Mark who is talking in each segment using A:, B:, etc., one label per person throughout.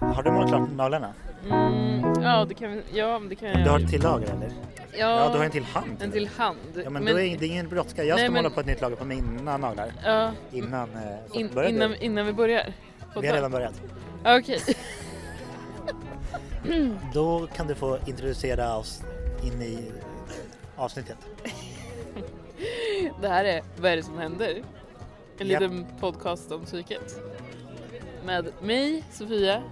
A: Har du målat klart naglarna?
B: Mm, ja, det kan, vi- ja, men det kan jag
A: Du har
B: göra.
A: ett till lager eller? Ja, du har en till hand.
B: En till hand.
A: Ja, men, då är det är ingen brådska. Jag ska
B: Nej, men-
A: måla på ett nytt lager på mina naglar.
B: ja,
A: Innan... eh, så
B: in,
A: börjar du.
B: innan, innan vi börjar.
A: Vi har redan börjat.
B: Ja, Okej.
A: Då kan du få introducera oss in i eh, avsnittet.
B: Det här är Vad är det som händer? En
A: Japp.
B: liten podcast om psyket. Med mig, Sofia.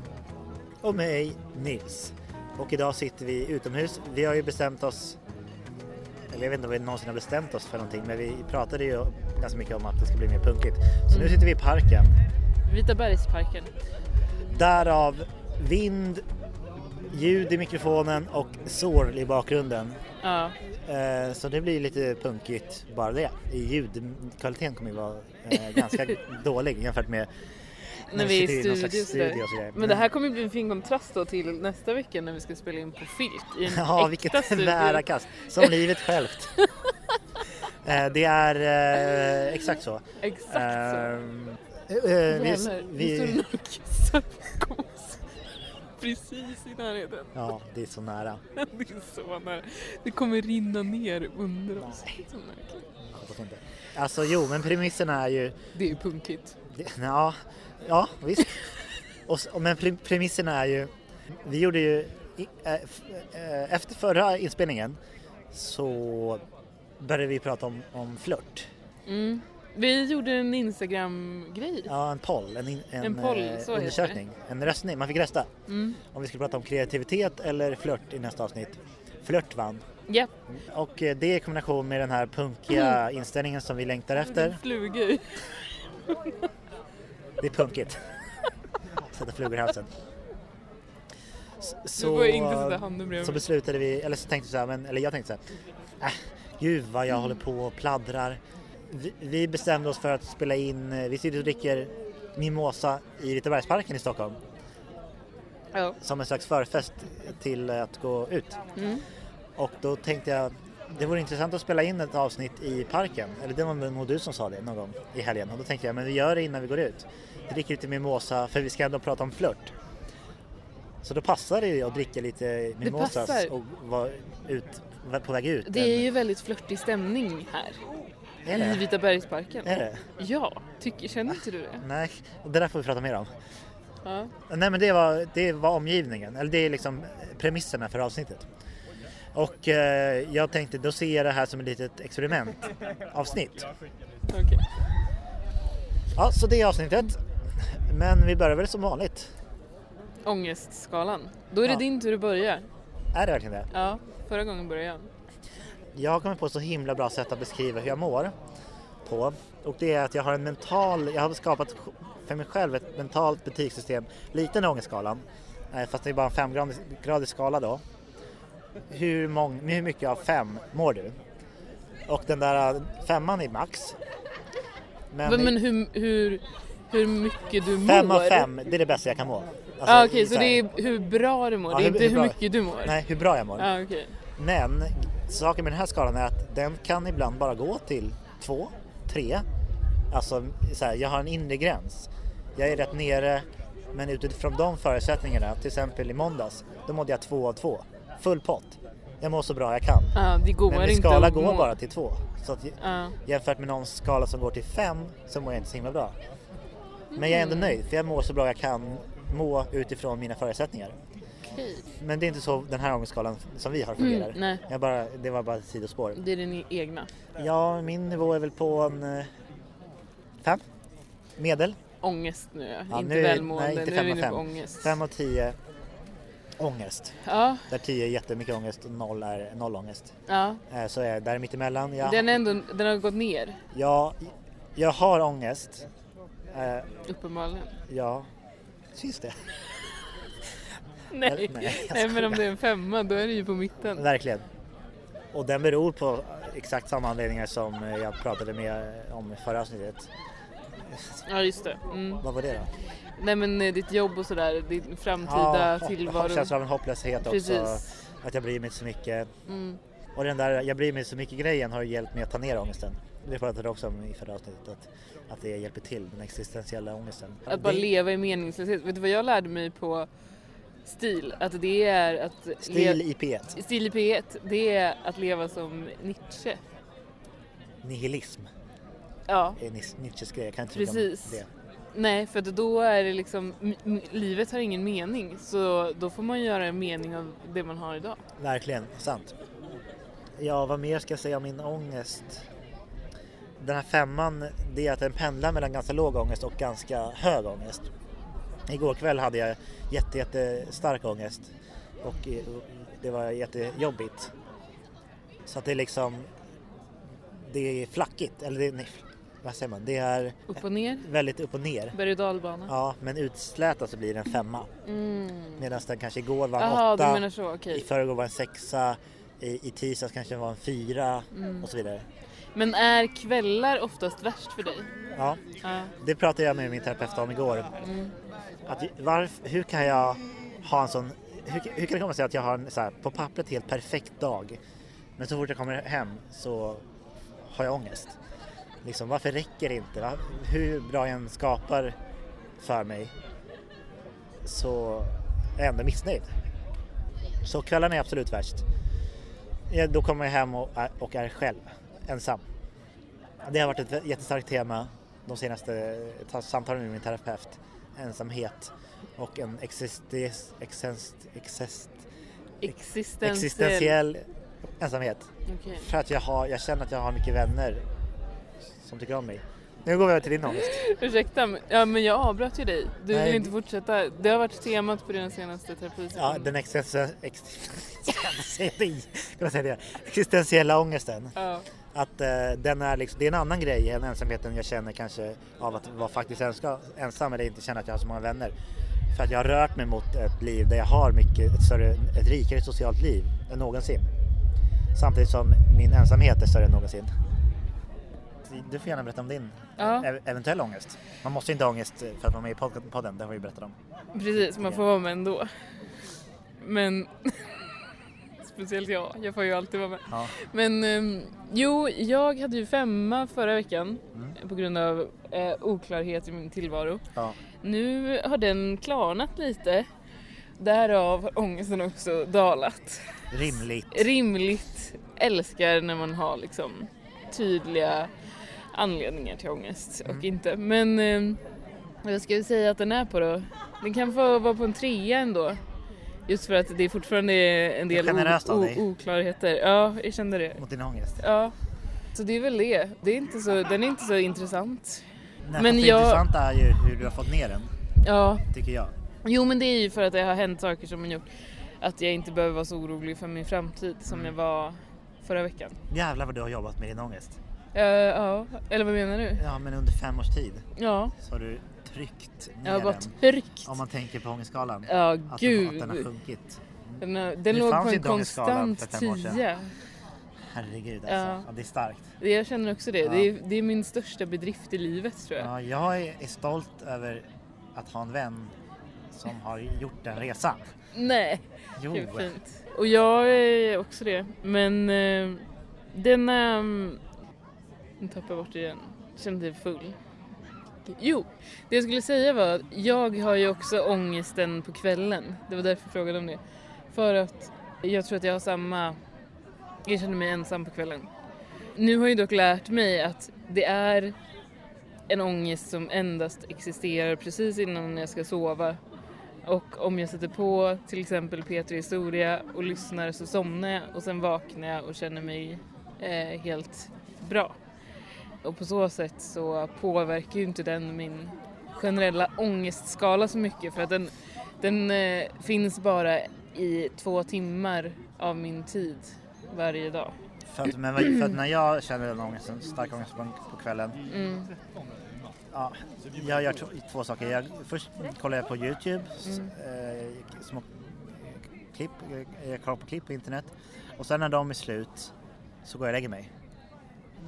A: Och mig, Nils. Och idag sitter vi utomhus. Vi har ju bestämt oss, eller jag vet inte om vi någonsin har bestämt oss för någonting, men vi pratade ju ganska mycket om att det ska bli mer punkigt. Så
B: Mm.
A: nu sitter vi i parken.
B: Vita bergsparken.
A: Därav vind, ljud i mikrofonen och sorl i bakgrunden.
B: Ja,
A: Eh, Så det blir lite punkigt bara det. I Ljudkvaliteten kommer ju vara eh, ganska dålig jämfört med
B: när vi är i
A: sitter någon slags
B: studio.
A: studio och så Mm.
B: sådär.
A: där.
B: Men det här kommer bli en fin kontrast då till nästa vecka när vi ska spela in på filt i en
A: Ja,
B: äkta
A: vilket
B: studio.
A: nära kast. Som livet självt. Eh, det är eh, exakt så.
B: Exakt så.
A: Ehm, eh, vi-
B: Jävlar, vi... nu står
A: vi,
B: någon och kissar bakom oss. Precis i närheten.
A: ja, det är så nära.
B: Det är så nära. Det kommer rinna ner under oss. Så märkligt.
A: Jag hoppas inte. Alltså jo, men premisserna är ju...
B: Det är ju punkigt.
A: det- Ja, ja visst. Och, s- men pre- premisserna är ju... Vi gjorde ju... i- eh, f- eh, Efter förra inspelningen så började vi prata om, om flört.
B: Mm. Vi gjorde en Instagram-grej.
A: Ja, en poll, en, in- en,
B: En poll,
A: eh,
B: så heter
A: undersökning, en röstning. Man fick rösta
B: Mm.
A: om vi skulle prata om kreativitet eller flört i nästa avsnitt. Flört vann.
B: Japp,
A: Och eh, det i kombination med den här punkiga inställningen som vi längtar efter.
B: flugor.
A: Det är punkigt. Sätta flugor i halsen. S-
B: Du får inte sätta handen bredvid
A: så
B: mig.
A: beslutade vi, eller så tänkte vi så här, men, eller jag tänkte så här, äh, gud vad jag håller på och pladdrar. Vi, vi bestämde oss för att spela in, eh, vi sitter och dricker mimosa i Ritebergsparken i Stockholm.
B: Ja.
A: som en slags förfest till att gå ut.
B: Mm.
A: Och då tänkte jag, det vore intressant att spela in ett avsnitt i parken. Eller det var nog du som sa det någon gång i helgen. Och då tänkte jag, men vi gör det innan vi går ut. Vi dricker lite mimosa, för vi ska ändå prata om flört. Så då passar det ju att dricka lite mimosas
B: passar.
A: och vara ut, vara på väg ut.
B: Det är ju väldigt flörtig stämning här
A: Är
B: i
A: det?
B: Vita bergsparken.
A: Är det?
B: Ja, tycker, känner inte du det?
A: Nej, det där får vi prata mer om.
B: Ja.
A: Nej men det var, det var omgivningen, eller det är liksom premisserna för avsnittet. Och eh, jag tänkte då ser jag det här som ett litet experimentavsnitt.
B: Okej.
A: Ja, så det är avsnittet. Men vi börjar väl som vanligt.
B: Ångestskalan. Då är det
A: Ja.
B: din tur att börja.
A: Är det verkligen det?
B: Ja, förra gången började jag.
A: Jag har kommit på ett så himla bra sätt att beskriva hur jag mår på. Och det är att jag har en mental, jag har skapat för mig själv ett mentalt betygssystem, liten ångestskalan, eh, fast det är bara en femgradig skala då. Hur, mång, hur mycket av fem mår du? Och den där eh, femman är max.
B: Men, men hur, hur, hur mycket du
A: fem
B: mår?
A: av fem, det är det bästa jag kan må. Alltså,
B: ah, Okej, så
A: här-
B: det är hur bra du mår,
A: Ja,
B: det är
A: hur-
B: inte
A: hur
B: hur
A: bra-
B: mycket du mår?
A: Nej, hur bra jag mår.
B: Ah, okej.
A: Men saken med den här skalan är att den kan ibland bara gå till två, tre. Alltså så här, jag har en inre gräns. Jag är rätt nere men utifrån de förutsättningarna, till exempel i måndags, då mådde jag två av två. Full pott. Jag mår så bra jag kan.
B: Ah, det går
A: Men min
B: inte
A: skala
B: att
A: går
B: må.
A: bara till två. Så att,
B: Ja.
A: jämfört med någon skala som går till fem så mår jag inte så himla bra. Men jag är
B: Mm.
A: ändå nöjd för jag mår så bra jag kan må utifrån mina förutsättningar.
B: Okej.
A: Men det är inte så den här ångestskalan som vi har fungerar.
B: Mm, nej.
A: jag bara, det var bara ett sidospår.
B: Det är din egna.
A: Ja, min nivå är väl på en eh, fem. Medel.
B: Ångest nu ja.
A: Ja,
B: inte
A: nu är-
B: välmående,
A: nej, inte
B: nu är
A: fem
B: vi
A: av
B: inne
A: fem.
B: på ångest.
A: Fem av tio ångest.
B: Ja,
A: Där tio är jättemycket ångest och noll är noll ångest.
B: ja.
A: Eh, Så är jag där mittemellan. Jag,
B: Den, är ändå, den har gått ner
A: jag, jag har ångest. Eh,
B: uppenbarligen.
A: Ja, syns det?
B: Nej,
A: nej, jag
B: nej, men om det är en femma då är det ju på mitten.
A: Verkligen. Och den beror på exakt samma anledningar som eh, jag pratade med om i förra avsnittet.
B: Ja just det. Mm.
A: Vad var det då?
B: Nej men eh, ditt jobb och sådär, din framtida
A: hopp-
B: tillvaro.
A: Känslan av en hopplöshet också.
B: Precis.
A: Att jag bryr mig inte så mycket.
B: Mm.
A: Och den där jag bryr mig så mycket grejen har ju hjälpt mig att ta ner ångesten. vi pratade också om i förra avsnittet att, att det hjälper till, den existentiella ångesten.
B: Att bara
A: Det-
B: leva i meningslöshet. Vet du vad jag lärde mig på STIL? Att det är att... le-
A: Stil i P1,
B: STIL i P1, det är att leva som Nietzsche.
A: nihilism
B: Ja,
A: är Nis- Nietzsches grej, jag kan inte tycka om
B: Precis.
A: det.
B: nej för att då är det liksom, m- m- livet har ingen mening så då får man göra en mening av det man har idag.
A: Verkligen, sant. Ja, vad mer ska jag säga om min ångest? Den här femman, det är att den pendlar mellan ganska låg ångest och ganska hög ångest. Igår kväll hade jag jätte, jätte stark ångest och eh, det var jättejobbigt. Så att det är liksom, det är flackigt, eller det, nej, vad säger man, det är
B: Upp och ner,
A: väldigt upp och ner.
B: berg och dalbana.
A: Ja, men utslätat så blir det en femma.
B: Mm.
A: Medan den kanske igår var en
B: Jaha, du
A: åtta.
B: menar så, okej.
A: I förrgår var en sexa, i, i tisdags kanske var en fyra och så vidare.
B: Men är kvällar oftast värst för dig?
A: Ja,
B: Ja.
A: det pratade jag med min terapeut om igår. Att varf, hur kan jag ha en sån, hur, hur kan det komma sig att jag har en så här, på pappret helt perfekt dag men så fort jag kommer hem så har jag ångest. Liksom, varför räcker det inte? Va? Hur bra jag än skapar för mig så är jag ändå missnöjd. Så kvällarna är absolut värst. Ja, då kommer jag hem och är, och är själv, ensam. Det har varit ett vä- jättestarkt tema de senaste ta- samtalen med min terapeut. Ensamhet och en existens, exist, exist,
B: Existentiell.
A: existentiell ensamhet.
B: Okej.
A: För att jag, har, jag känner att jag har mycket vänner som tycker om mig. Nu går vi över till din ångest.
B: Ursäkta, men- ja, men jag avbröt ju dig. Du
A: Nej.
B: vill inte fortsätta. Det har varit temat på dina senaste terapisessioner.
A: Ja, den existentiella, existentiella, existentiella ångesten.
B: Ja.
A: Att eh, den är liksom, det är en annan grej än ensamheten jag känner kanske av att vara faktiskt enska, ensam eller inte känna att jag har så många vänner. För att jag har rört mig mot ett liv där jag har mycket, ett, större, ett rikare socialt liv än någonsin. Samtidigt som min ensamhet är större än någonsin. Du får gärna berätta om din eh,
B: Ja.
A: ev- eventuella ångest. Man måste inte ha ångest för att vara med i pod- podden, det har vi berättat om.
B: Precis, man får vara med ändå. Men... Speciellt jag, jag får ju alltid vara med.
A: Ja.
B: Men ehm, jo, jag hade ju femma förra veckan
A: Mm.
B: på grund av eh, oklarhet i min tillvaro.
A: Ja.
B: Nu har den klarnat lite. Därav har ångesten också dalat.
A: Rimligt.
B: rimligt älskar när man har liksom tydliga anledningar till ångest
A: Mm.
B: och inte. Men eh, vad ska vi säga att den är på då? Den kan få vara på en trea ändå. Just för att det fortfarande är en del
A: generöst av dig.
B: oklarheter. Ja, jag kände det.
A: Mot din ångest.
B: Ja. Så det är väl det. det är inte så, den är inte så intressant.
A: Nej,
B: Men
A: Men det
B: jag-
A: intressanta är ju hur du har fått ner den,
B: Ja,
A: tycker jag.
B: Jo men det är ju för att det har hänt saker som har gjort att jag inte behöver vara så orolig för min framtid
A: Mm.
B: som jag var förra veckan.
A: Jävlar vad du har jobbat med din ångest.
B: Eh, ja, eller vad menar du?
A: Ja, men under fem års tid
B: Ja,
A: så har du tryckt ner
B: jag har bara
A: den.
B: tryckt.
A: Om man tänker på ångestskalan.
B: Ja,
A: att, den, att
B: gud.
A: den har sjunkit.
B: Den, har-
A: Det
B: den låg
A: fanns
B: på en
A: inte ångestskalan för
B: konstant
A: fem år sedan.
B: 10.
A: Herregud alltså.
B: Ja.
A: Ja. det är starkt.
B: Jag känner också det.
A: Ja.
B: Det, är, det är min största bedrift i livet tror jag.
A: Ja, jag är är stolt över att ha en vän som har gjort den resan.
B: Nej,
A: Jo,
B: gud fint. Och jag är också det. Men eh, den... ehm, nu tappade jag bort det igen. Jag känner mig full. Jo, det jag skulle säga var att jag har ju också ångesten på kvällen. Det var därför jag frågade om det. För att jag tror att jag har samma... Jag känner mig ensam på kvällen. Nu har jag dock lärt mig att det är en ångest som endast existerar precis innan jag ska sova. Och om jag sätter på till exempel P3 Historia och lyssnar så somnar jag och sen vaknar jag och känner mig eh, helt bra. Och på så sätt så påverkar ju inte den min generella ångestskala så mycket för att den, den eh, finns bara i två timmar av min tid varje dag.
A: För att, men, för att när jag känner den ångesten, stark ångest på, på kvällen. Ja, jag gör två, två saker. Jag, först kollar jag på Youtube, s- eh, små klipp, eh, jag kollar på klipp på internet. Och sen när de är slut så går jag och lägger mig.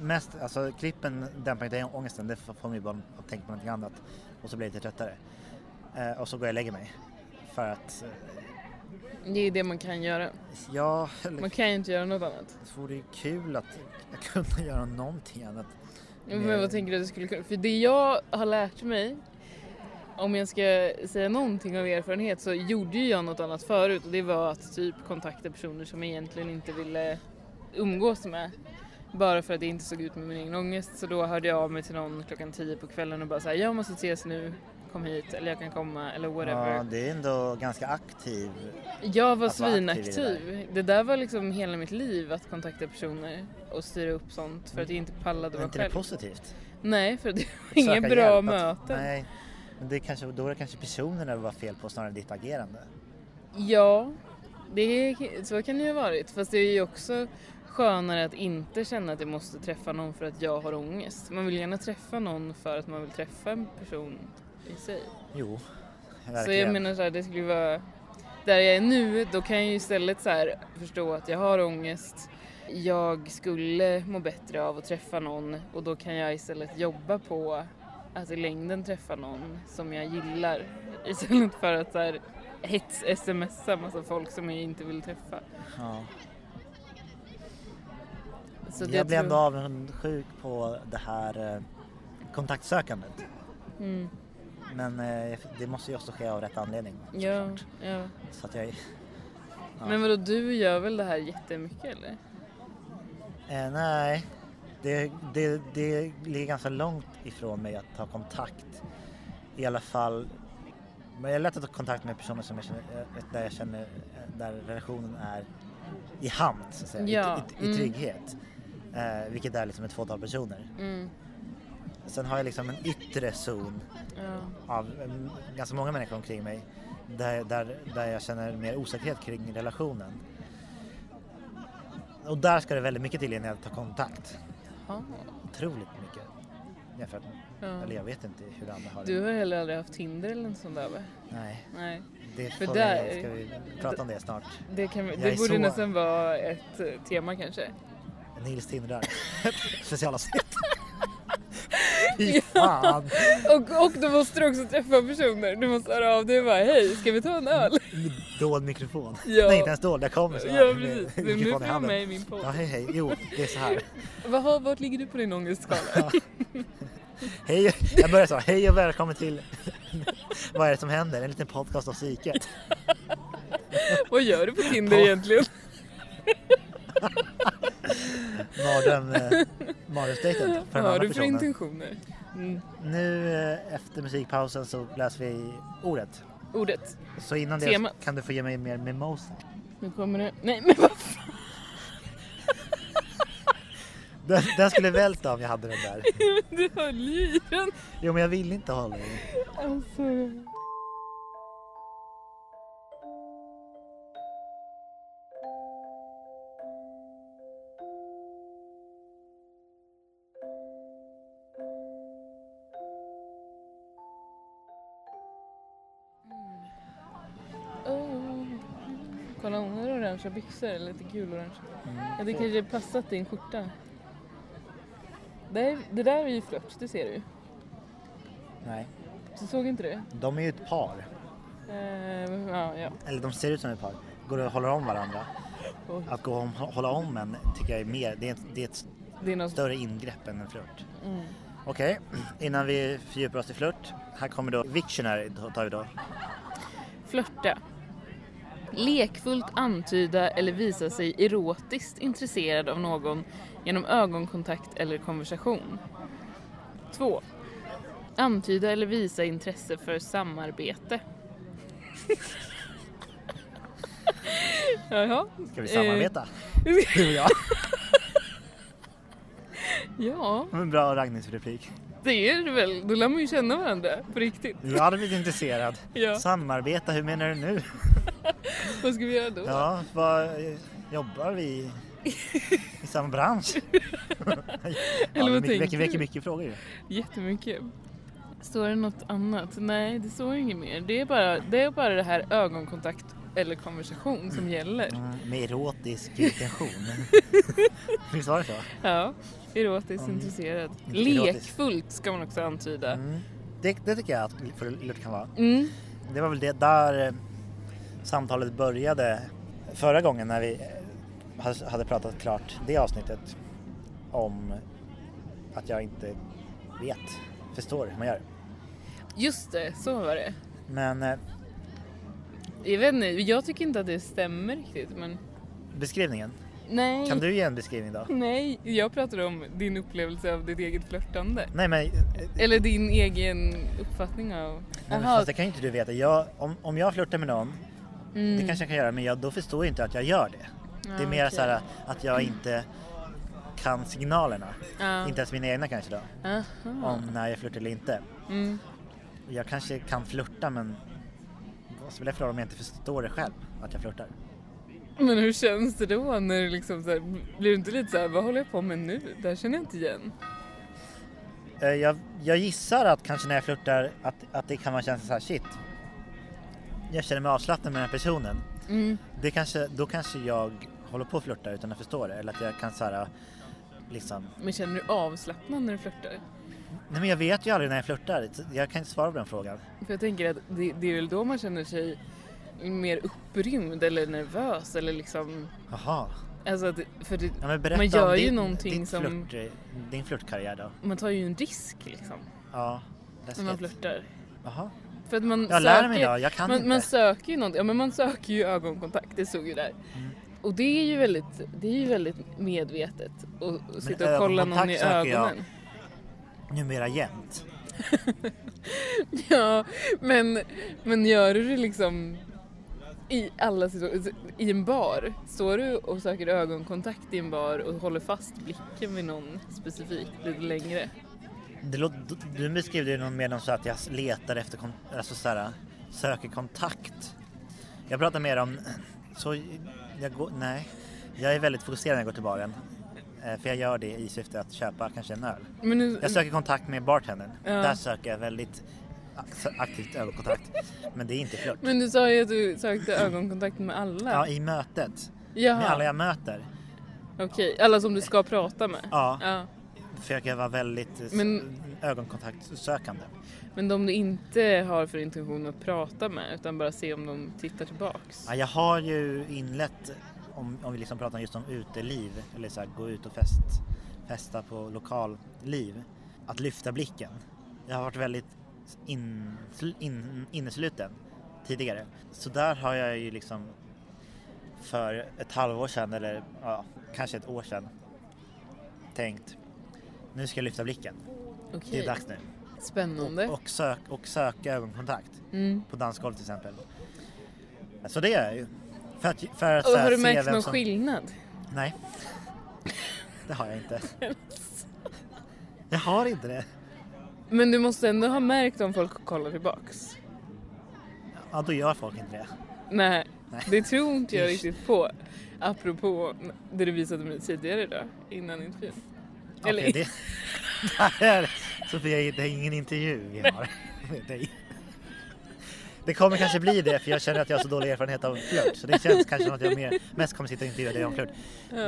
A: Mest, alltså klippen dämpar inte ångesten, det får mig bara att tänka på någonting annat. Och så blir jag lite tröttare. Eh, och så går jag och lägger mig. För att eh,
B: Det är det man kan göra.
A: Ja, eller
B: Man kan ju inte göra något annat.
A: det vore ju kul att kunna göra någonting annat. Nej.
B: Men vad tänker du att du skulle kunna... För det jag har lärt mig, om jag ska säga någonting av erfarenhet så gjorde ju jag något annat förut och det var att typ kontakta personer som jag egentligen inte ville umgås med. Bara för att det inte såg ut med min egen ångest så då hörde jag av mig till någon klockan tio på kvällen och bara såhär jag måste ses nu, kom hit eller jag kan komma eller whatever.
A: Ja, det är ändå ganska aktiv.
B: Jag var
A: Att vara aktiv i det
B: svinaktiv. Det där var liksom hela mitt liv att kontakta personer och styra upp sånt för att jag inte pallade
A: Är
B: vara
A: inte det
B: själv.
A: positivt?
B: Nej, för det var
A: Söka
B: inga bra
A: hjälp, att-
B: möten.
A: Nej, men det är kanske, då är det kanske personerna det var fel på snarare än ditt agerande.
B: Ja, det, så kan det ju ha varit. Fast det är ju också skönare att inte känna att jag måste träffa någon för att jag har ångest. Man vill gärna träffa någon för att man vill träffa en person i sig.
A: Jo,
B: Så jag
A: verkligen.
B: menar så här, det skulle ju vara... Där jag är nu, då kan jag ju istället så här förstå att jag har ångest. Jag skulle må bättre av att träffa någon och då kan jag istället jobba på att i längden träffa någon som jag gillar istället för att så här hets-smsa massa folk som jag inte vill träffa.
A: ja.
B: Så det
A: jag blev ändå
B: tror-
A: avundsjuk på det här eh, kontaktsökandet.
B: Mm.
A: Men eh, det måste ju också ske av rätt anledning.
B: Ja,
A: såklart.
B: ja.
A: Så att jag, eh, Ja.
B: Men vadå, du gör väl det här jättemycket eller?
A: Eh, nej, det, det, det ligger ganska långt ifrån mig att ta kontakt. I alla fall, men jag är lätt att ta kontakt med personer som jag känner, eh, där jag känner, eh, där relationen är i hand så att säga,
B: Ja,
A: i, i, i
B: mm.
A: trygghet. Eh, vilket är liksom ett fåtal personer.
B: Mm.
A: Sen har jag liksom en yttre zon
B: Ja.
A: av mm, ganska många människor omkring mig där, där, där jag känner mer osäkerhet kring relationen. Och där ska det väldigt mycket till innan jag tar kontakt.
B: Ja.
A: Otroligt mycket. Jämfört med,
B: Ja.
A: eller jag vet inte hur andra har det.
B: Du har heller aldrig haft Tinder eller något sånt där va?
A: Nej,
B: Nej.
A: det
B: För
A: får
B: där-
A: vi, ska vi prata om det snart.
B: Det, kan, vi-
A: Jag
B: det
A: är
B: borde
A: så-
B: nästan vara ett eh, tema kanske.
A: Nils tindrar. Specialavsnitt. Fy fan!
B: Och, och då måste du också träffa personer. Du måste höra av dig och bara hej, ska vi ta en öl?
A: Dold mikrofon.
B: Ja.
A: Nej, inte ens dold. Jag kommer så här
B: Ja
A: med
B: precis. Du,
A: mikrofonen
B: nu
A: i
B: får jag
A: handen.
B: med i min podd.
A: Ja, hej hej. Jo, det är så här.
B: Vad har- Vart ligger du på din ångestskala?
A: Hej, jag börjar så. Hej och välkommen till Vad är det som händer? En liten podcast av psyket.
B: Vad gör du på Tinder
A: På-
B: egentligen?
A: Mardröm, eh, mardrömsdejten för
B: Vad
A: den
B: har
A: andra
B: du för
A: personen.
B: intentioner? Mm.
A: Nu eh, efter musikpausen så läser vi ordet.
B: Ordet.
A: Så innan det
B: Temat.
A: kan du få ge mig mer mimosa.
B: Nu kommer det. Nej men vad fan.
A: Den, den skulle välta om jag hade den där.
B: Du höll ju i den.
A: Jo men jag vill inte ha den.
B: Alltså. Oh. Kolla hon har orangea byxor, eller lite gul-orange. Ja, det kanske passat din skjorta. Det, är, det där är ju flört, det ser du ju.
A: Nej,
B: Du såg inte det?
A: de är ju ett par.
B: Eh, ja, ja.
A: Eller de ser ut som ett par. Går och håller om varandra.
B: Oj,
A: Att gå om, hålla om en tycker jag är mer, det är, ett- det är ett
B: det är något...
A: större ingrepp än en flört.
B: Mm.
A: Okej, innan vi fördjupar oss i flört. Här kommer då Victionary tar vi då.
B: Flörta. Lekfullt antyda eller visa sig erotiskt intresserad av någon genom ögonkontakt eller konversation. 2. Antyda eller visa intresse för samarbete. Jaha.
A: Ska vi
B: Eh,
A: samarbeta? Du och jag.
B: Eh, ja,
A: En bra raggningsreplik.
B: det är det väl. Då lär man ju känna varandra på riktigt.
A: Jag hade blivit intresserad.
B: Ja.
A: Samarbeta, hur menar du nu?
B: Vad ska vi göra då?
A: Ja, vad eh, jobbar vi i samma bransch?
B: vad
A: det
B: tänker
A: mycket, väcker, väcker
B: du?
A: mycket frågor ju.
B: Jättemycket. Står det något annat? Nej, det står inget mer. Det är bara det, är bara det här ögonkontakt eller konversation som gäller.
A: Mm, med erotisk intention. Visst var det så?
B: Ja, erotiskt intresserad.
A: Inte erotiskt.
B: Lekfullt ska man också antyda.
A: Mm. Det, det tycker jag att flört kan vara.
B: Mm.
A: Det var väl det där eh, samtalet började förra gången när vi eh, hade pratat klart det avsnittet om att jag inte vet, förstår hur man gör.
B: Just det, så var det.
A: Men eh,
B: Jag vet inte, jag tycker inte att det stämmer riktigt men
A: beskrivningen,
B: nej.
A: kan du ge en beskrivning då?
B: Nej, jag pratar om din upplevelse av ditt eget flörtande.
A: Nej men, eh,
B: Eller din egen uppfattning av...
A: nej, men fast det kan ju inte du veta. Jag, om, om jag flörtar med någon,
B: Mm.
A: det kanske jag kan göra, men jag, då förstår jag inte att jag gör det. det är
B: Ah,
A: mer
B: okej.
A: så här att jag inte kan signalerna.
B: Ja.
A: Inte ens mina egna kanske då,
B: Aha.
A: om när jag flörtar eller inte.
B: Mm.
A: Jag kanske kan flörta men vad spelar det för roll om jag inte förstår det själv, att jag flörtar?
B: Men hur känns det då när du liksom så här, blir du inte lite så här, vad håller jag på med nu? Det här känner jag inte igen.
A: Eh, Jag, jag gissar att kanske när jag flörtar att, att det kan vara känslan så här shit. Jag känner mig avslappnad med den här personen.
B: Mm.
A: Det kanske, då kanske jag håller på och flörtar utan att förstå det. Eller att jag kan så här, liksom.
B: Men känner du avslappnad när du flörtar?
A: Nej men jag vet ju aldrig när jag flörtar. så Jag kan inte svara på den frågan.
B: För jag tänker att det, det är väl då man känner sig mer upprymd eller nervös eller liksom...
A: Jaha.
B: Alltså att, för det,
A: Ja, men berätta
B: man gör
A: om
B: ju
A: din,
B: någonting
A: ditt
B: som...
A: flört, din flörtkarriär då.
B: Man tar ju en risk liksom
A: Ja.
B: när man
A: Läskigt.
B: flörtar.
A: Jaha.
B: För att man
A: Jag lär
B: söker,
A: mig idag. Jag kan
B: man,
A: inte.
B: man söker ju någonting, ja men man söker ju ögonkontakt, det såg ju där.
A: Mm.
B: Och det är ju väldigt, det är ju väldigt medvetet att sitta och kolla någon i
A: ögonkontakt söker jag.
B: ögonen.
A: Numera jämt.
B: Ja, men, men gör du det liksom i alla situationer, i en bar, står du och söker ögonkontakt i en bar och håller fast blicken vid någon specifikt lite längre?
A: Det låter, du beskrev det ju någon mer om så att jag letar efter, kon- alltså så här, söker kontakt. Jag pratar mer om, så jag går, nej. Jag är väldigt fokuserad när jag går till baren. Eh, För jag gör det i syfte att köpa kanske en öl.
B: Men nu,
A: Jag söker kontakt med bartendern.
B: Ja.
A: Där söker jag väldigt ak- aktivt ögonkontakt. Men det är inte flört.
B: men du sa ju att du sökte ögonkontakt med alla.
A: Ja, i mötet. Med
B: Jaha.
A: alla jag möter.
B: Okej, alla som du ska prata med?
A: Ja.
B: ja.
A: Försöker jag vara väldigt eh, s-
B: Men-
A: ögonkontaktsökande.
B: Men de du inte har för intention att prata med utan bara se om de tittar tillbaks?
A: Ja, jag har ju inlett, om, om vi liksom pratar just om uteliv, eller så här, gå ut och fest, festa på lokalliv, att lyfta blicken. Jag har varit väldigt in, in, innesluten tidigare. Så där har jag ju liksom för ett halvår sedan eller ja, kanske ett år sedan tänkt nu ska jag lyfta blicken. Det
B: Okej,
A: är dags nu.
B: spännande.
A: Och, sök, och söka ögonkontakt
B: Mm.
A: på dansgolv till exempel. Så det gör jag ju. För att, för att
B: Och
A: så här
B: har du
A: se
B: märkt
A: vem
B: någon
A: som-
B: skillnad?
A: Nej. Det har jag inte. Jag har inte det.
B: Men du måste ändå ha märkt om folk kollar tillbaks?
A: Ja, då gör folk inte det.
B: Nej,
A: Nej.
B: det tror inte jag
A: Ish.
B: riktigt på. Apropå det du visade mig tidigare idag, innan intervjun. Eller-
A: Okej, det, det här, Sofia, det är ingen intervju vi har med dig. Det kommer kanske bli det för jag känner att jag har så dålig erfarenhet av flört så det känns kanske som att jag mer, mest kommer sitta och intervjua dig om flört.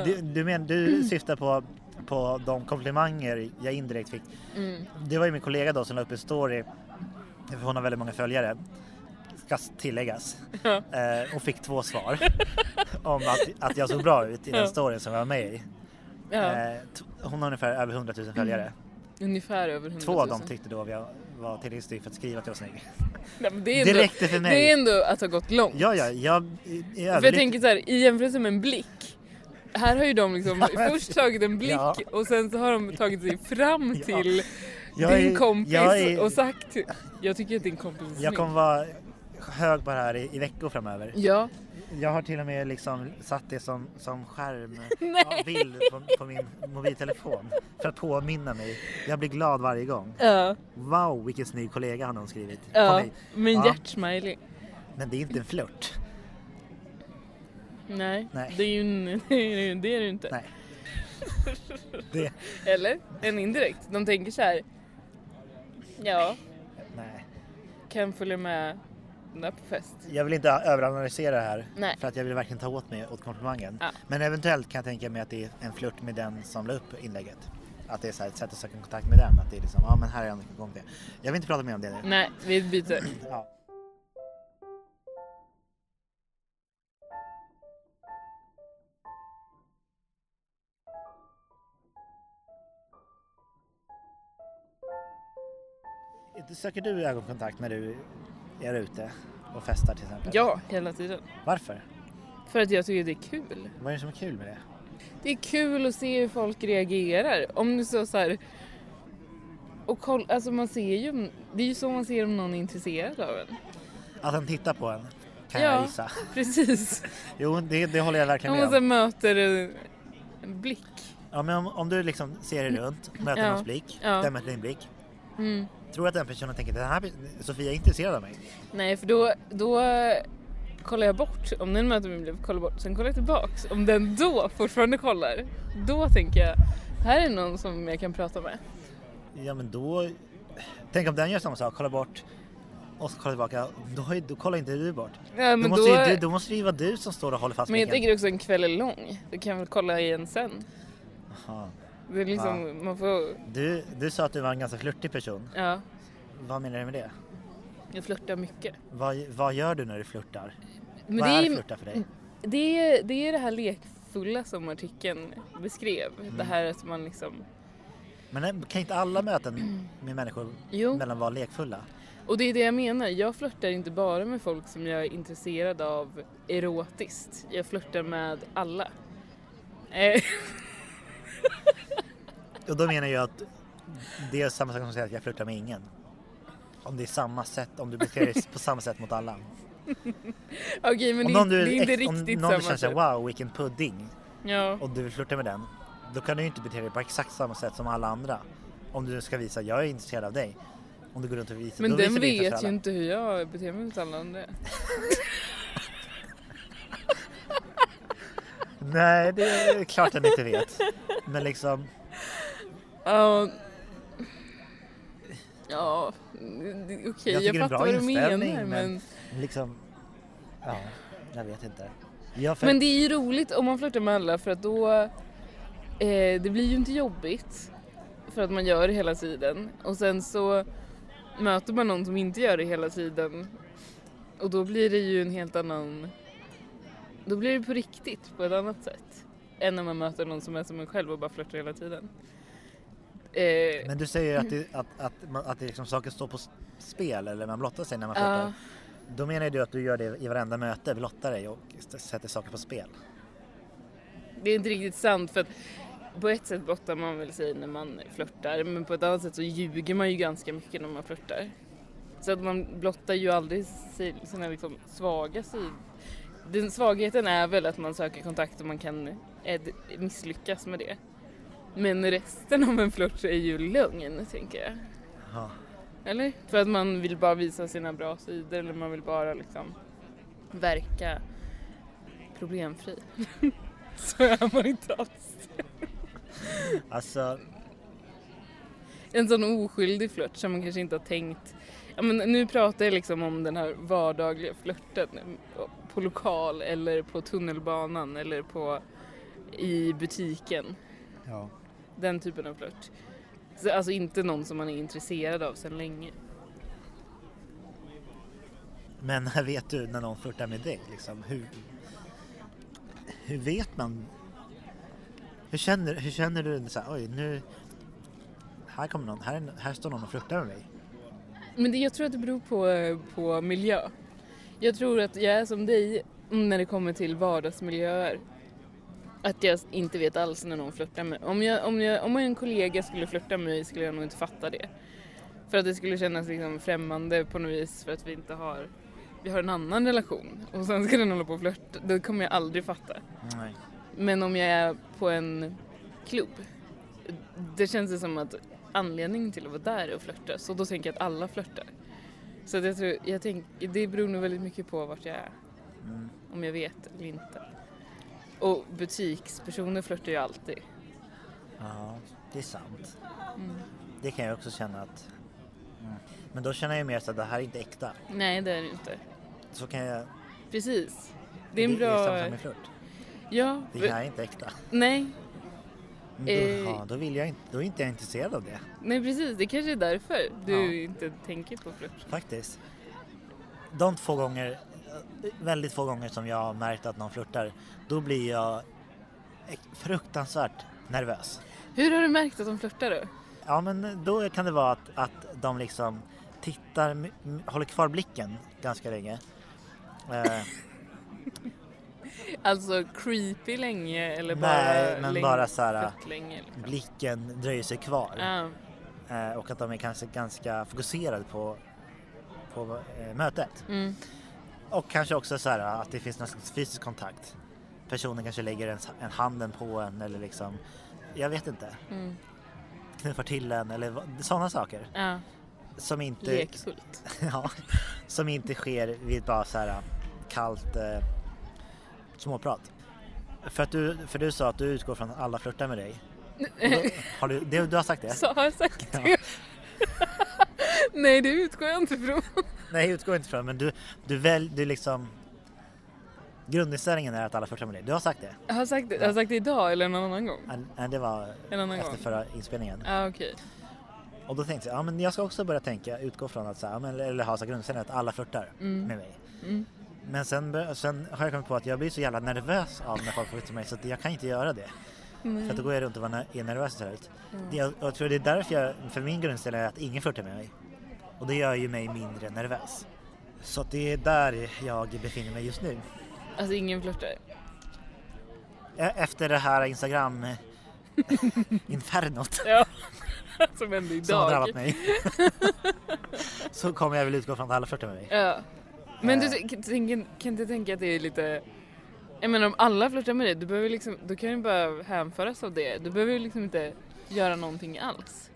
A: Du, du, men, du syftar på, på de komplimanger jag indirekt fick
B: Mm.
A: Det var ju min kollega då som la upp en story, för hon har väldigt många följare, ska tilläggas.
B: Ja.
A: Eh, och fick två svar om att, att jag såg bra ut i
B: Ja.
A: den storyn som jag var med i.
B: Ja, Mm,
A: Eh, t- hon har ungefär över 100 000 följare.
B: ungefär över 100 000.
A: Två av dem tyckte då att jag var tillräckligt snygg för att skriva att jag var snygg.
B: Nej, men det, är
A: Det
B: ändå,
A: räckte för mig.
B: det är ändå att ha gått långt.
A: Ja, ja, jag är
B: För jag
A: överlycklig.
B: tänker så här, i jämförelse med en blick. Här har ju de liksom
A: men-
B: först tagit en blick
A: Ja.
B: och sen så har de tagit sig fram
A: Ja.
B: till
A: Jag
B: din
A: är-
B: kompis
A: jag är-
B: och sagt Jag tycker att din kompis är snygg.
A: Jag kommer vara hög på det här i, i veckor framöver.
B: Ja,
A: Jag har till och med liksom satt det som, som
B: Nej.
A: skärmbild på, på min mobiltelefon för att påminna mig. Jag blir glad varje gång.
B: ja,
A: Wow vilken snygg kollega han har skrivit på
B: ja.
A: mig.
B: Men
A: Ja.
B: hjärtsmiley.
A: Men det är inte en flört.
B: Nej,
A: Nej.
B: Det, är ju, en- det är ju- det är det ju inte.
A: Nej. Det,
B: Eller? En indirekt. De tänker så här. Ja,
A: nej.
B: kan följa med den där på fest.
A: Jag vill inte överanalysera det här
B: Nej.
A: för att jag vill verkligen ta åt mig åt komplimangen.
B: Ja.
A: Men eventuellt kan jag tänka mig att det är en flört med den som la upp inlägget. Att det är så här ett sätt att söka kontakt med den. Att det är liksom, ja men här är en gång det.
B: Mm.
A: Jag vill inte prata mer om det nu.
B: Nej, vi byter.
A: Ja. söker du ögonkontakt när du är ute och festar till exempel?
B: Ja, hela tiden.
A: Varför?
B: För att jag tycker det är kul.
A: Vad är det som är kul med det?
B: Det är kul att se hur folk reagerar. Om du så så här... Och koll, alltså man ser ju, om- det är ju så man ser om någon är intresserad av en.
A: Att han tittar på en, kan
B: Ja.
A: jag gissa.
B: Precis.
A: Jo, det, det håller jag verkligen
B: Om
A: med
B: man
A: om.
B: så här möter en en blick.
A: Ja, men om, om du liksom ser dig runt, möter
B: Ja.
A: någons blick,
B: Ja.
A: den möter din blick.
B: Mm.
A: Tror du att den personen tänker den här Sofia är intresserad av mig?
B: Nej, för då, då kollar jag bort. Om den möter min blick, kollar jag bort. Sen kollar jag tillbaks. Om den då fortfarande kollar, då tänker jag här är någon som jag kan prata med.
A: Ja men då... Tänk om den gör samma sak, kollar bort och så kollar tillbaka. Då, har ju- då kollar inte du bort.
B: Ja,
A: då,
B: men
A: måste
B: då-
A: ju, du, då måste det ju vara du som står och håller fast
B: Men jag
A: blicken.
B: tänker också en kväll är lång. Då kan jag väl kolla igen sen.
A: Jaha.
B: Det är liksom, man får,
A: Du, du sa att du var en ganska flörtig person.
B: ja,
A: Vad menar du med det?
B: jag flörtar mycket.
A: Vad, vad gör du när du flörtar?
B: Men
A: vad
B: det,
A: är
B: är,
A: flörta för dig?
B: det, är, det är det här lekfulla som artikeln beskrev. Det här att man liksom...
A: Men eh, kan inte alla möten med människor
B: Jo.
A: mellan vara lekfulla?
B: Och det är det jag menar, jag flörtar inte bara med folk som jag är intresserad av erotiskt. Jag flörtar med alla. Eh,
A: Och då menar jag att det är samma sak som att säga att jag flörtar med ingen. Om det är samma sätt, om du beter dig på samma sätt mot alla.
B: Okej men
A: Om
B: det,
A: någon
B: är-
A: du
B: det är inte
A: ex- om
B: riktigt
A: någon du
B: samma
A: känner
B: sak.
A: såhär wow vilken pudding
B: Ja.
A: och du vill flirta med den. Då kan du ju inte bete dig på exakt samma sätt som alla andra. Om du ska visa jag är intresserad av dig. Om du går runt och visar
B: Men
A: då
B: den
A: visar du intresse
B: vet
A: för
B: ju
A: alla.
B: inte hur jag beter mig mot alla andra.
A: Nej det är klart den inte vet. Men liksom
B: Ja, ja det- okej
A: jag
B: jag,
A: tycker det är
B: fattar
A: en
B: vad
A: bra
B: du
A: inställning.
B: menar men...
A: liksom ja jag vet inte. Jag för...
B: Men det är ju roligt om man flörtar med alla för att då... Eh, det blir ju inte jobbigt för att man gör det hela tiden och sen så möter man någon som inte gör det hela tiden och då blir det ju en helt annan... Då blir det på riktigt på ett annat sätt än när man möter någon som är som en själv och bara flörtar hela tiden. Eh,
A: Men du säger att, det, att, att, man- att det liksom saker står på s- spel eller man blottar sig när man
B: Ja.
A: flörtar. Då menar ju du att du gör det i varenda möte, blottar dig och s- sätter saker på spel.
B: det är inte riktigt sant för att på ett sätt blottar man väl sig när man flörtar men på ett annat sätt så ljuger man ju ganska mycket när man flörtar. Så att man blottar ju aldrig si- sina liksom svaga sidor. Den svagheten är väl att man söker kontakt och man kan eh, d- misslyckas med det. Men resten av en flört så är ju lögn tänker jag.
A: Ja.
B: Eller? För att man vill bara visa sina bra sidor eller man vill bara liksom verka problemfri. så är man inte alls.
A: Alltså,
B: En sån oskyldig flört som man kanske inte har tänkt. Ja, men nu pratar jag liksom om den här vardagliga flörten på lokal eller på tunnelbanan eller på i butiken.
A: ja.
B: Den typen av flört. Så, alltså inte någon som man är intresserad av sedan länge.
A: Men när vet du när någon flörtar med dig? Liksom, hur, hur vet man? Hur känner, hur känner du? Så här, Oj, nu... Här kommer någon. Här, är- här står någon och flörtar med mig.
B: Men det, jag tror att det beror på, på miljö. Jag tror att jag är som dig när det kommer till vardagsmiljöer. Att jag inte vet alls när någon flörtar med om, jag, om, jag, om en kollega skulle flörta med mig skulle jag nog inte fatta det. För att det skulle kännas liksom främmande på något vis för att vi inte har vi har en annan relation och sen ska den hålla på och flörta. Det kommer jag aldrig fatta.
A: Nej.
B: Men om jag är på en klubb, det känns det som att anledningen till att vara där är att flörta. Så då tänker jag att alla flörtar. Så att jag tror, jag tänk, det beror nog väldigt mycket på vart jag är.
A: Mm.
B: Om jag vet eller inte. Och butikspersoner flörtar ju alltid.
A: Ja, det är sant.
B: Mm.
A: Det kan jag också känna att... Mm. Men då känner jag mer så att det här är inte äkta.
B: Nej, det är det inte.
A: Så kan jag...
B: Precis. Det är en
A: Det är
B: bra...
A: samma sak med flört.
B: ja,
A: Det här är inte äkta.
B: nej,
A: Men Då,
B: Eh.
A: ja, då, vill jag inte, då är inte jag intresserad av det.
B: nej precis. Det kanske är därför du
A: Ja.
B: inte tänker på flört.
A: Faktiskt. De två gånger, väldigt få gånger som jag har märkt att någon flörtar, då blir jag fruktansvärt nervös.
B: Hur har du märkt att de flörtar då?
A: Ja men då kan det vara att, att de liksom tittar, m- m- håller kvar blicken ganska länge. Eh,
B: Alltså creepy länge eller bara
A: Nej, men
B: länge,
A: bara så här-
B: fett länge? Liksom.
A: blicken dröjer sig kvar.
B: Ja.
A: Eh, och att de är kanske ganska fokuserade på, på eh, mötet.
B: Mm.
A: Och kanske också så här att det finns någon slags fysisk kontakt. Personen kanske lägger en, en handen på en eller liksom, jag vet inte,
B: Mm.
A: knuffar till en eller vad- sådana saker.
B: Ja.
A: Som inte,
B: Lekfullt.
A: ja, som inte sker vid bara så här kallt eh, småprat. För, att du, för du sa att du utgår från att alla flörtar med dig. Och Då, har du, det, du har sagt det?
B: Så har jag sagt
A: Ja.
B: det. Nej, det utgår jag inte från.
A: Nej, jag utgår inte från men du, du väl, du liksom... Grundinställningen är att alla flörtar med dig. Du har sagt det.
B: Jag har sagt det, jag har sagt det idag eller någon annan gång.
A: En- en- Det var
B: En annan
A: efter
B: gång.
A: förra inspelningen.
B: Ja, okej.
A: Och då tänkte jag, ja men jag ska också börja tänka, utgå från att så här, ja, men- eller ha så här grundinställningen att alla flörtar
B: Mm.
A: med mig.
B: Mm.
A: Men sen, bör- sen har jag kommit på att jag blir så jävla nervös av när folk flörtar med mig så att jag kan inte göra det. För att då går jag runt och var ne- är nervös istället.
B: Mm.
A: Det- Jag, jag tror det är därför jag, för min grundinställning är att ingen flörtar med mig. Och det gör ju mig mindre nervös. Så att det är där jag befinner mig just nu.
B: Alltså ingen flörtar.
A: E- Efter det här eh, Instagram-infernot
B: Ja. Som hände idag.
A: som har drabbat mig. så kommer jag väl utgå från att alla flörtar med mig.
B: Ja. Men du
A: Eh.
B: t- tänker- kan inte tänka att det är lite... Jag menar om alla flörtar med dig, du behöver liksom, då kan du bara hänföras av det. Du behöver ju liksom inte göra någonting alls.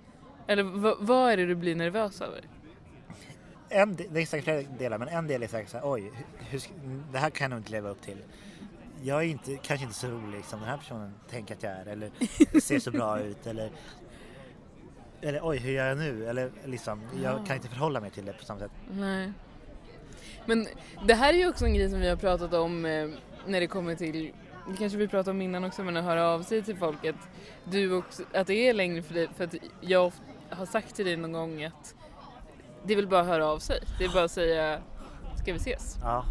B: Eller v- vad är det du blir nervös över?
A: En, del- det är säkert flera delar, men en del är säkert såhär, oj, hur- hur, sk- det här kan jag nog inte leva upp till. Jag är inte, kanske inte så rolig som den här personen tänker att jag är eller ser så bra ut eller eller oj, hur gör jag nu? Eller liksom, jag kan inte förhålla mig till det på samma sätt.
B: Nej. Men det här är ju också en grej som vi har pratat om eh, när det kommer till, det kanske vi pratade om innan också, men att höra av sig till folk att, du också, att det är längre för dig, för att jag of- har sagt till dig någon gång att det är väl bara att höra av sig. Det är bara att säga, ska vi ses?
A: Ja,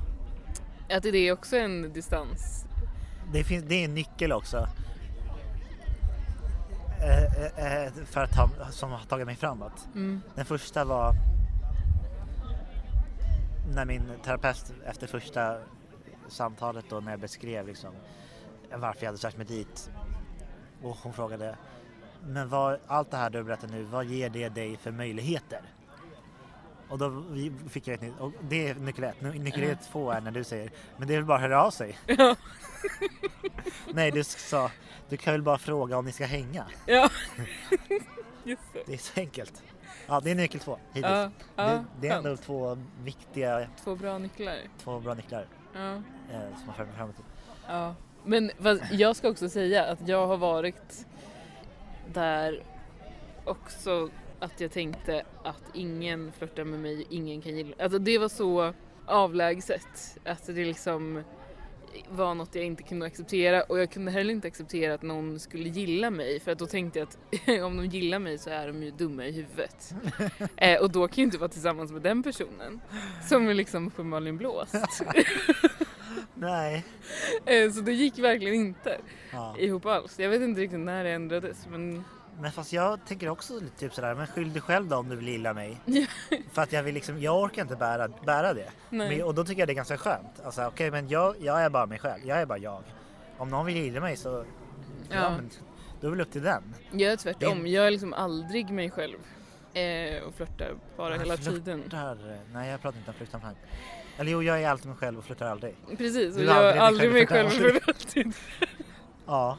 B: Att det är också en distans.
A: det, finns, det är en nyckel också. Eh, eh, eh, för att ta, som har tagit mig framåt.
B: Mm.
A: Den första var när min terapeut efter första samtalet då när jag beskrev liksom varför jag hade sökt mig dit och hon frågade men vad, allt det här du berättar nu, vad ger det dig för möjligheter? Och då vi- fick jag ett nytt, och det är nyckel ett. Nu- Nyckel ett två är när du säger, men det är väl bara att höra av sig? Nej, du sa, du kan väl bara fråga om ni ska hänga?
B: Ja. Just det.
A: Det är så enkelt. Ja, det är nyckel två hittills.
B: Ja, ja,
A: det, det är ändå
B: skönt.
A: två viktiga,
B: Två bra nycklar.
A: två bra nycklar
B: Ja.
A: eh, som har fört mig framåt.
B: Ja, men vad, jag ska också säga att jag har varit där också att jag tänkte att ingen flörtar med mig, ingen kan gilla Alltså det var så avlägset att det liksom var något jag inte kunde acceptera och jag kunde heller inte acceptera att någon skulle gilla mig för att då tänkte jag att om de gillar mig så är de ju dumma i huvudet. eh, och då kan jag inte vara tillsammans med den personen som är liksom uppenbarligen blåst.
A: Nej.
B: eh, så det gick verkligen inte
A: Ja.
B: ihop alls. Jag vet inte riktigt när det ändrades men
A: Men fast jag tänker också lite typ sådär, men skyll dig själv då om du vill gilla mig.
B: Ja.
A: För att jag vill liksom, jag orkar inte bära, bära det.
B: Nej.
A: Men, och då tycker jag det är ganska skönt. Alltså okej, men jag, jag är bara mig själv. Jag är bara jag. Om någon vill gilla mig så, ja,
B: Ja.
A: men då är det väl upp till den.
B: jag är tvärtom. Jag är liksom aldrig mig själv eh, och flörtar bara
A: Men
B: hela
A: flörtar-
B: tiden.
A: eh, Nej, jag pratar inte om flörtsamhet. Eller jo, jag är alltid mig själv och flörtar aldrig.
B: Precis, och
A: Du är
B: jag
A: aldrig
B: är aldrig
A: dig
B: mig
A: själv
B: själv
A: och
B: för alltid.
A: Ja.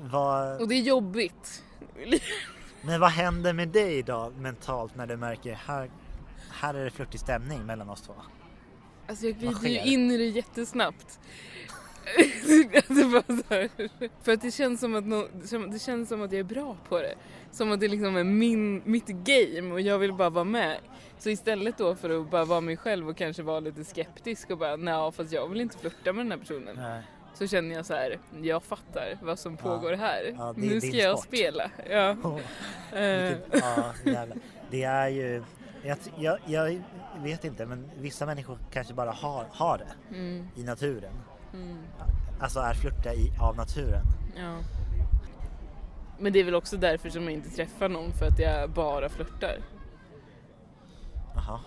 A: Vad...
B: Och det är jobbigt.
A: Men vad händer med dig då mentalt när du märker här, här är det flörtig stämning mellan oss två?
B: Alltså jag glider ju
A: sker?
B: in i det jättesnabbt. alltså bara så här. För att det känns, som att nå- som- det känns som att jag är bra på det. Som att det liksom är min, mitt game och jag vill bara vara med. Så istället då för att bara vara mig själv och kanske vara lite skeptisk och bara nej fast jag vill inte flörta med den här personen. Så känner jag så här, jag fattar vad som pågår här.
A: Ja, det är din
B: nu ska jag
A: sport.
B: spela. Ja.
A: Åh,
B: Eh,
A: vilket- ja, jävlar. det är ju... Jag, jag, jag vet inte, men vissa människor kanske bara har, har det
B: mm,
A: i naturen.
B: mm,
A: Alltså är flörtiga i, av naturen.
B: ja. Men det är väl också därför som jag inte träffar någon för att jag bara flörtar.
A: Jaha.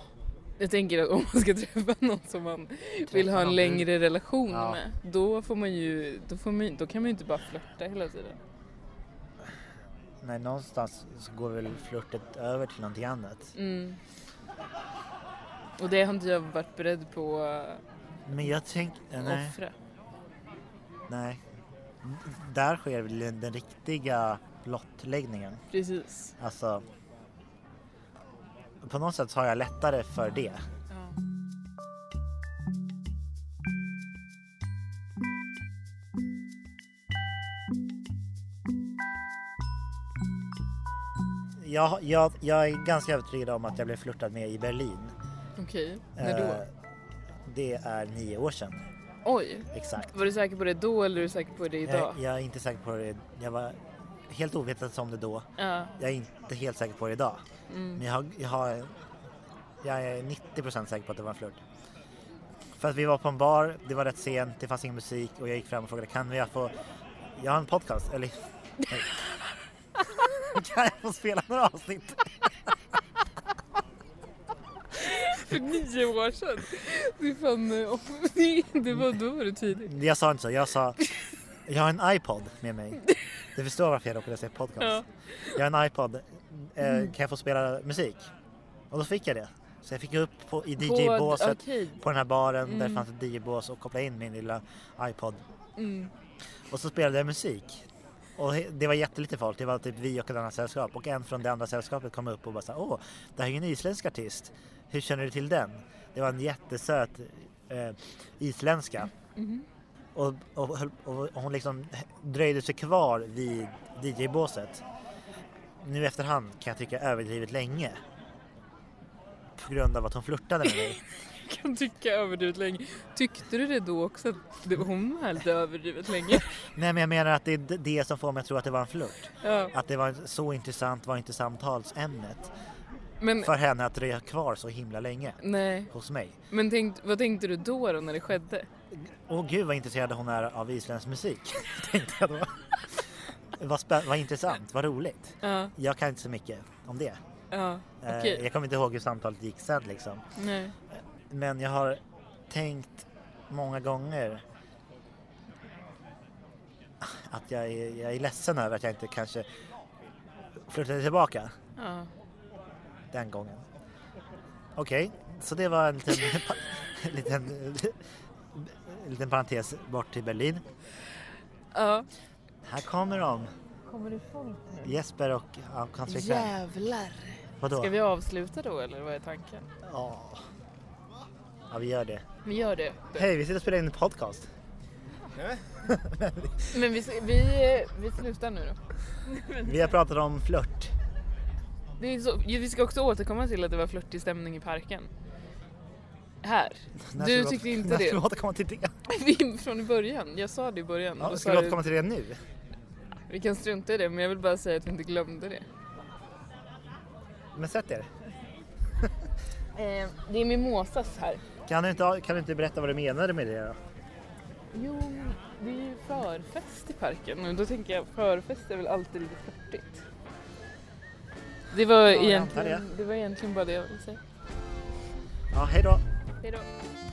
B: Jag tänker att om man ska träffa någon som man vill ha
A: någon
B: en
A: du-
B: längre relation
A: Ja.
B: med då får man ju, då, får man, då kan man ju inte bara flörta hela tiden.
A: Nej, någonstans så går väl flörtet över till någonting annat.
B: Mm. Och det har inte jag varit beredd på att
A: Men jag tänker... Nej.
B: offra.
A: nej. Där sker väl den riktiga blottläggningen.
B: Precis.
A: Alltså... På något sätt så har jag lättare för det.
B: Ja.
A: Jag, jag, jag är ganska övertygad om att jag blev flörtad med i Berlin.
B: Okej, när då?
A: Eh, Det är nio år sedan,
B: Oj,
A: exakt. Eh,
B: var du säker på det då eller är du säker på det idag?
A: Jag, jag är inte säker på det. Jag var helt ovetande om det då.
B: Ja,
A: Jag är inte helt säker på det idag.
B: mm.
A: Men jag, har- jag, har, jag är 90% säker på att det var en flört. För att vi var på en bar, det var rätt sent, det fanns ingen musik och jag gick fram och frågade kan jag få... Jag har en podcast, eller... Nej. kan jag få spela några avsnitt?
B: För nio år sedan! Det är fan, eh, off- det var, då var du tidig.
A: Jag sa inte så, jag sa... Jag har en iPod med mig. Du förstår varför jag råkade säga podcast.
B: Ja.
A: Jag har en iPod, eh, kan jag få spela musik? Och då fick jag det. Så jag fick gå upp på, i DJ-båset
B: Okej.
A: på den här baren där det
B: Mm.
A: fanns ett DJ-bås och kopplade in min lilla iPod.
B: Mm.
A: Och så spelade jag musik. Och he- det var jättelite folk, det var typ vi och ett annat sällskap. Och en från det andra sällskapet kom upp och bara sa Åh, det här är ju en isländsk artist. Hur känner du till den? Det var en jättesöt eh, isländska.
B: Mhm.
A: Och, och, höll- och, och hon liksom dröjde sig kvar vid DJ-båset. Nu efterhand kan jag tycka överdrivet länge. På grund av att hon flörtade med mig.
B: Kan tycka överdrivet länge. Tyckte du det då också att det, hon var lite överdrivet länge?
A: Nej men jag menar att det är d- det som får mig att tro att det var en flört.
B: Ja.
A: Att det var så intressant var inte samtalsämnet.
B: Men,
A: för henne att dröja kvar så himla länge
B: nej.
A: hos mig.
B: Men tänkt, vad tänkte du då, då när det skedde?
A: Åh gud vad intresserad hon är av isländsk musik, tänkte jag då. Vad, spä- vad intressant, vad roligt.
B: Ja,
A: Jag kan inte så mycket om det.
B: ja,
A: Eh,
B: okej.
A: Jag kommer inte ihåg hur samtalet gick sen liksom.
B: Nej.
A: Men jag har tänkt många gånger att jag är, jag är ledsen över att jag inte kanske flörtade tillbaka
B: Ja.
A: den gången. Okej, så det var en liten, en liten, en liten parentes bort till Berlin.
B: ja.
A: Här kommer de,
B: Kommer det folk nu?
A: Jesper och ja, hans flickvän.
B: Jävlar!
A: Vadå?
B: Ska vi avsluta då eller vad är tanken?
A: Ja. ja, vi gör det.
B: Vi gör det.
A: Hej, vi sitter och spelar in en podcast.
B: Men vi, vi, vi slutar nu då.
A: Vi har pratat om flört.
B: Det är så, ju, vi ska också återkomma till att det var flörtig stämning i parken. Här.
A: När
B: Du
A: ska vi
B: tyckte
A: åter-
B: inte
A: när Ska
B: det.
A: vi återkomma till det?
B: Vi, från i början. Jag sa det i början.
A: Ja,
B: Då
A: ska
B: sa
A: vi
B: du-
A: återkomma till det nu?
B: vi kan strunta i det men jag vill bara säga att vi inte glömde det.
A: Men sätt er.
B: Eh, det är mimosas här.
A: Kan du, inte, kan du inte berätta vad du menade med det då?
B: Jo, det är ju förfest i parken och då tänker jag förfest är väl alltid lite flörtigt. Det var,
A: jag
B: egentligen,
A: antar
B: det var egentligen bara det jag ville säga.
A: Ja, hej då.
B: Hej då.